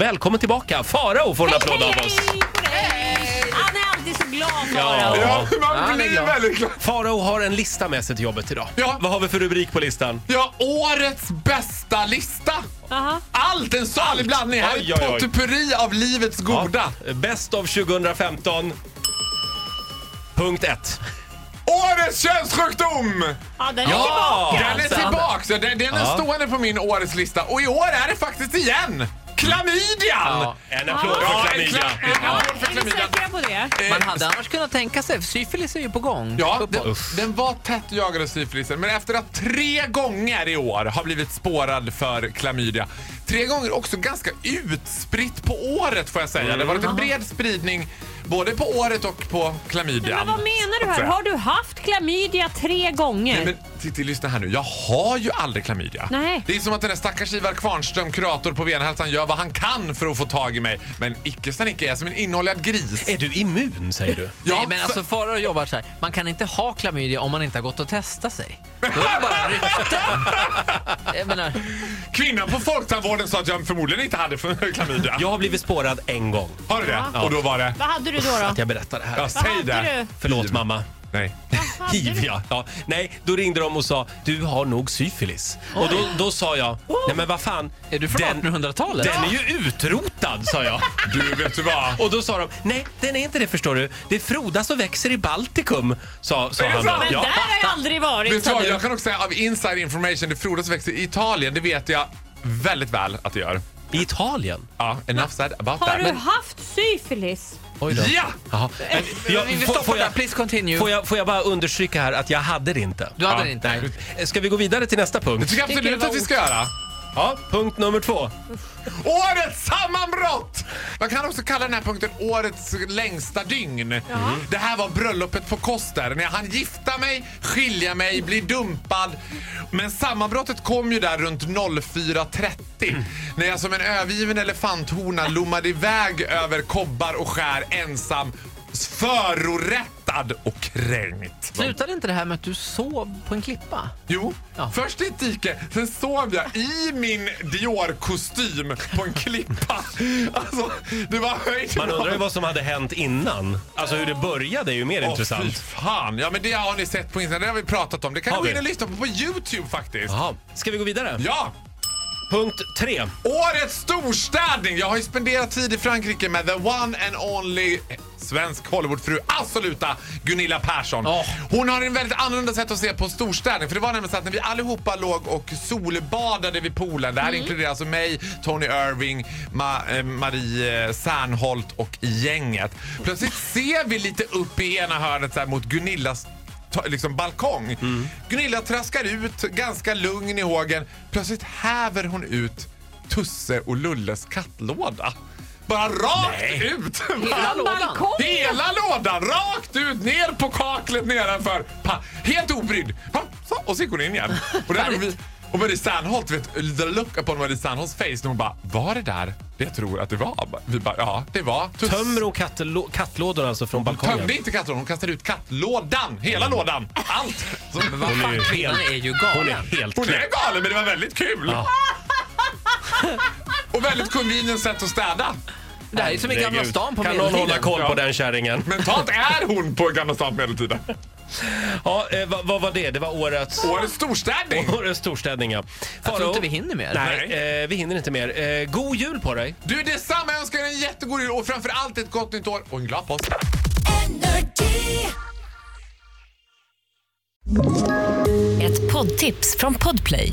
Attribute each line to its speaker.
Speaker 1: Välkommen tillbaka! Farao får en applåd av oss.
Speaker 2: Hej på dig! Han är alltid så glad
Speaker 1: Ja.
Speaker 2: Farao.
Speaker 3: Ja, man
Speaker 4: han är
Speaker 3: blir
Speaker 4: glad.
Speaker 3: väldigt glad.
Speaker 1: Farao har en lista med sig till jobbet idag.
Speaker 3: Ja.
Speaker 1: Vad har vi för rubrik på listan?
Speaker 3: Ja, årets bästa lista.
Speaker 2: Aha.
Speaker 3: Allt, en salig blandning. Här
Speaker 1: Oj,
Speaker 3: är
Speaker 1: oj, oj.
Speaker 3: ett potpurri av livets goda.
Speaker 1: Bäst av 2015. Punkt 1.
Speaker 3: Årets könssjukdom!
Speaker 2: Ja, den är
Speaker 1: Ja,
Speaker 2: tillbaka
Speaker 3: Den är
Speaker 2: alltså.
Speaker 3: tillbaks. Den, den är stående på min årets lista. Och i år är det faktiskt igen. Klamydian!
Speaker 4: Ja.
Speaker 1: En applåd
Speaker 3: Ja,
Speaker 1: för
Speaker 3: en
Speaker 1: klamydia.
Speaker 3: kla- en
Speaker 2: Ja,
Speaker 3: applåd för
Speaker 2: är vi
Speaker 3: klamydian.
Speaker 2: säkra på det?
Speaker 3: Eh,
Speaker 4: Man hade annars kunnat tänka sig, för syfilis är ju på gång.
Speaker 3: Ja,
Speaker 4: Uppåt.
Speaker 3: den, den var tätt jagad av syfilisen, men efter att tre gånger i år har blivit spårad för klamydia. Tre gånger också ganska utspritt på året får jag säga. Det har varit en bred spridning både på året och på
Speaker 2: Nej,
Speaker 3: klamydian.
Speaker 2: Men vad menar du här? Har du haft klamydia tre gånger?
Speaker 3: Nej, men titta, lyssna här nu. Jag har ju aldrig klamydia.
Speaker 2: Nej.
Speaker 3: Det är som att den där stackars Ivar Kvarnström, kurator på Venhälsan, gör vad han kan för att få tag i mig. Men icke sa Nicke, jag är som en inhållad gris.
Speaker 1: Är du immun säger du?
Speaker 3: Ja,
Speaker 4: Nej, men alltså Farao jobbar så här. Man kan inte ha klamydia om man inte har gått och testat sig. Då är det bara rykten. Jag menar,
Speaker 3: för- Kvinnan på Folktandvården sa att jag förmodligen inte hade för klamydia.
Speaker 1: Jag har blivit spårad en gång.
Speaker 3: Har du det?
Speaker 1: Ja.
Speaker 3: Och då var det?
Speaker 2: Vad hade du då? då?
Speaker 1: Att jag berättar det här.
Speaker 3: Ja, säg
Speaker 2: hade
Speaker 3: det.
Speaker 1: Förlåt mamma.
Speaker 3: Nej.
Speaker 2: Hade du-
Speaker 1: Hiv ja. ja. Nej, då ringde de och sa du har nog syfilis. Och då, då sa jag, nej men vad fan.
Speaker 4: är du från
Speaker 1: den,
Speaker 4: 1800-talet?
Speaker 1: den är ju utrotad sa jag.
Speaker 3: Du, vet du vad?
Speaker 1: Och då sa de, nej den är inte det förstår du. Det frodas och växer i Baltikum, sa, sa
Speaker 3: Är det
Speaker 1: han.
Speaker 3: sant?
Speaker 1: då.
Speaker 2: Men
Speaker 1: Ja.
Speaker 2: där har jag aldrig
Speaker 3: Vet
Speaker 2: varit.
Speaker 3: du
Speaker 2: sa
Speaker 3: vad?
Speaker 2: du.
Speaker 3: Jag kan också säga av inside information, det frodas och växer i Italien. Det vet jag väldigt väl att det gör.
Speaker 1: I Italien?
Speaker 3: Ja, enough said about
Speaker 2: Har
Speaker 3: that.
Speaker 2: du haft syfilis?
Speaker 1: Oj då.
Speaker 3: Ja!
Speaker 1: Jaha. Men jag-
Speaker 4: vi vill
Speaker 1: får-
Speaker 4: stoppa
Speaker 1: får jag-
Speaker 4: där, please continue.
Speaker 1: Får jag, får jag bara understryka här att jag hade det inte.
Speaker 4: Du hade
Speaker 3: Ja.
Speaker 4: det inte?
Speaker 1: Ska vi gå vidare till nästa
Speaker 3: Det
Speaker 1: punkt?
Speaker 3: tycker jag
Speaker 2: Tycker det
Speaker 3: absolut
Speaker 2: var
Speaker 3: att vi ska göra.
Speaker 1: Ja, punkt nummer två.
Speaker 3: Årets sammanbrott! Man kan också kalla den här punkten årets längsta dygn. Mm. Det här var bröllopet på Koster. När jag hann gifta mig, skilja mig, bli dumpad. Men sammanbrottet kom ju där runt 04.30. När jag som en övergiven elefanthona lommade iväg över kobbar och skär ensam, förorättad och kränkt.
Speaker 4: Slutade inte det här med att du sov på en klippa?
Speaker 3: Jo,
Speaker 4: Ja.
Speaker 3: först i ett dike, sen sov jag i min Dior-kostym på en klippa. Alltså, det var höjden
Speaker 1: Man undrar ju
Speaker 3: av-
Speaker 1: vad som hade hänt innan. Alltså hur det började är ju mer
Speaker 3: Åh, Fy
Speaker 1: intressant.
Speaker 3: fan. Ja, men det har ni sett på Instagram. Det har vi pratat om. Det kan
Speaker 1: Har
Speaker 3: ni gå
Speaker 1: vi?
Speaker 3: in och lyssna på på YouTube faktiskt.
Speaker 1: Jaha. Ska vi gå vidare?
Speaker 3: Ja!
Speaker 1: Punkt tre.
Speaker 3: Årets storstädning! Jag har ju spenderat tid i Frankrike med the one and only svensk Hollywoodfru, absoluta Gunilla Persson.
Speaker 4: Åh.
Speaker 3: Hon har en väldigt annorlunda sätt att se på storstädning. För det var nämligen så att när vi allihopa låg och solbadade vid poolen, det här inkluderar alltså mig, Tony Irving, Ma- eh, Marie eh, Serneholt och gänget. Plötsligt ser vi lite upp i ena hörnet så här, mot Gunillas ta- liksom balkong. Gunilla traskar ut, ganska lugn i hågen. Plötsligt häver hon ut Tusse och Lulles kattlåda. Bara rakt ut! Bara-
Speaker 2: Från balkongen?
Speaker 3: Hela lådan rakt ut, ner på kaklet nedanför. Pa, helt obrydd. Pa, så, och så gick hon in igen. Och, där
Speaker 4: Härligt.
Speaker 3: vi, och Marie Serneholt, vet, the look upon Marie Serneholts face när hon bara var det där det jag tror att det var? Vi bara ja, det var. Tuss.
Speaker 1: Tömmer hon kattlå- kattlådorna alltså från balkongen?
Speaker 3: Tömde inte kattlådan, hon kastade ut kattlådan. Hela lådan. Allt. Så,
Speaker 1: Mm. Hon är ju
Speaker 4: Den
Speaker 1: helt,
Speaker 4: är ju
Speaker 1: hon är
Speaker 4: galen.
Speaker 1: helt
Speaker 3: Hon
Speaker 1: knäpp.
Speaker 3: är galen men det var väldigt kul.
Speaker 1: Ja.
Speaker 3: Och väldigt convenient sätt att städa.
Speaker 4: Det här är som i Gamla
Speaker 1: Herregud.
Speaker 4: stan på
Speaker 1: Kan någon hålla
Speaker 4: medeltiden.
Speaker 1: koll på
Speaker 3: Ja.
Speaker 1: den kärringen?
Speaker 3: Mentalt är hon på Gamla stan på medeltiden.
Speaker 1: Ja, eh, vad, vad var det? Det var årets...
Speaker 3: Årets storstädning.
Speaker 1: Årets storstädning ja.
Speaker 4: Jag
Speaker 1: Faro?
Speaker 4: tror inte vi hinner mer.
Speaker 1: Nej, eh, vi hinner inte mer. Eh, god jul på dig!
Speaker 3: Du detsamma, jag önskar er en jättegod jul och framförallt ett gott nytt år och en glad påsk.
Speaker 5: Ett poddtips från Podplay.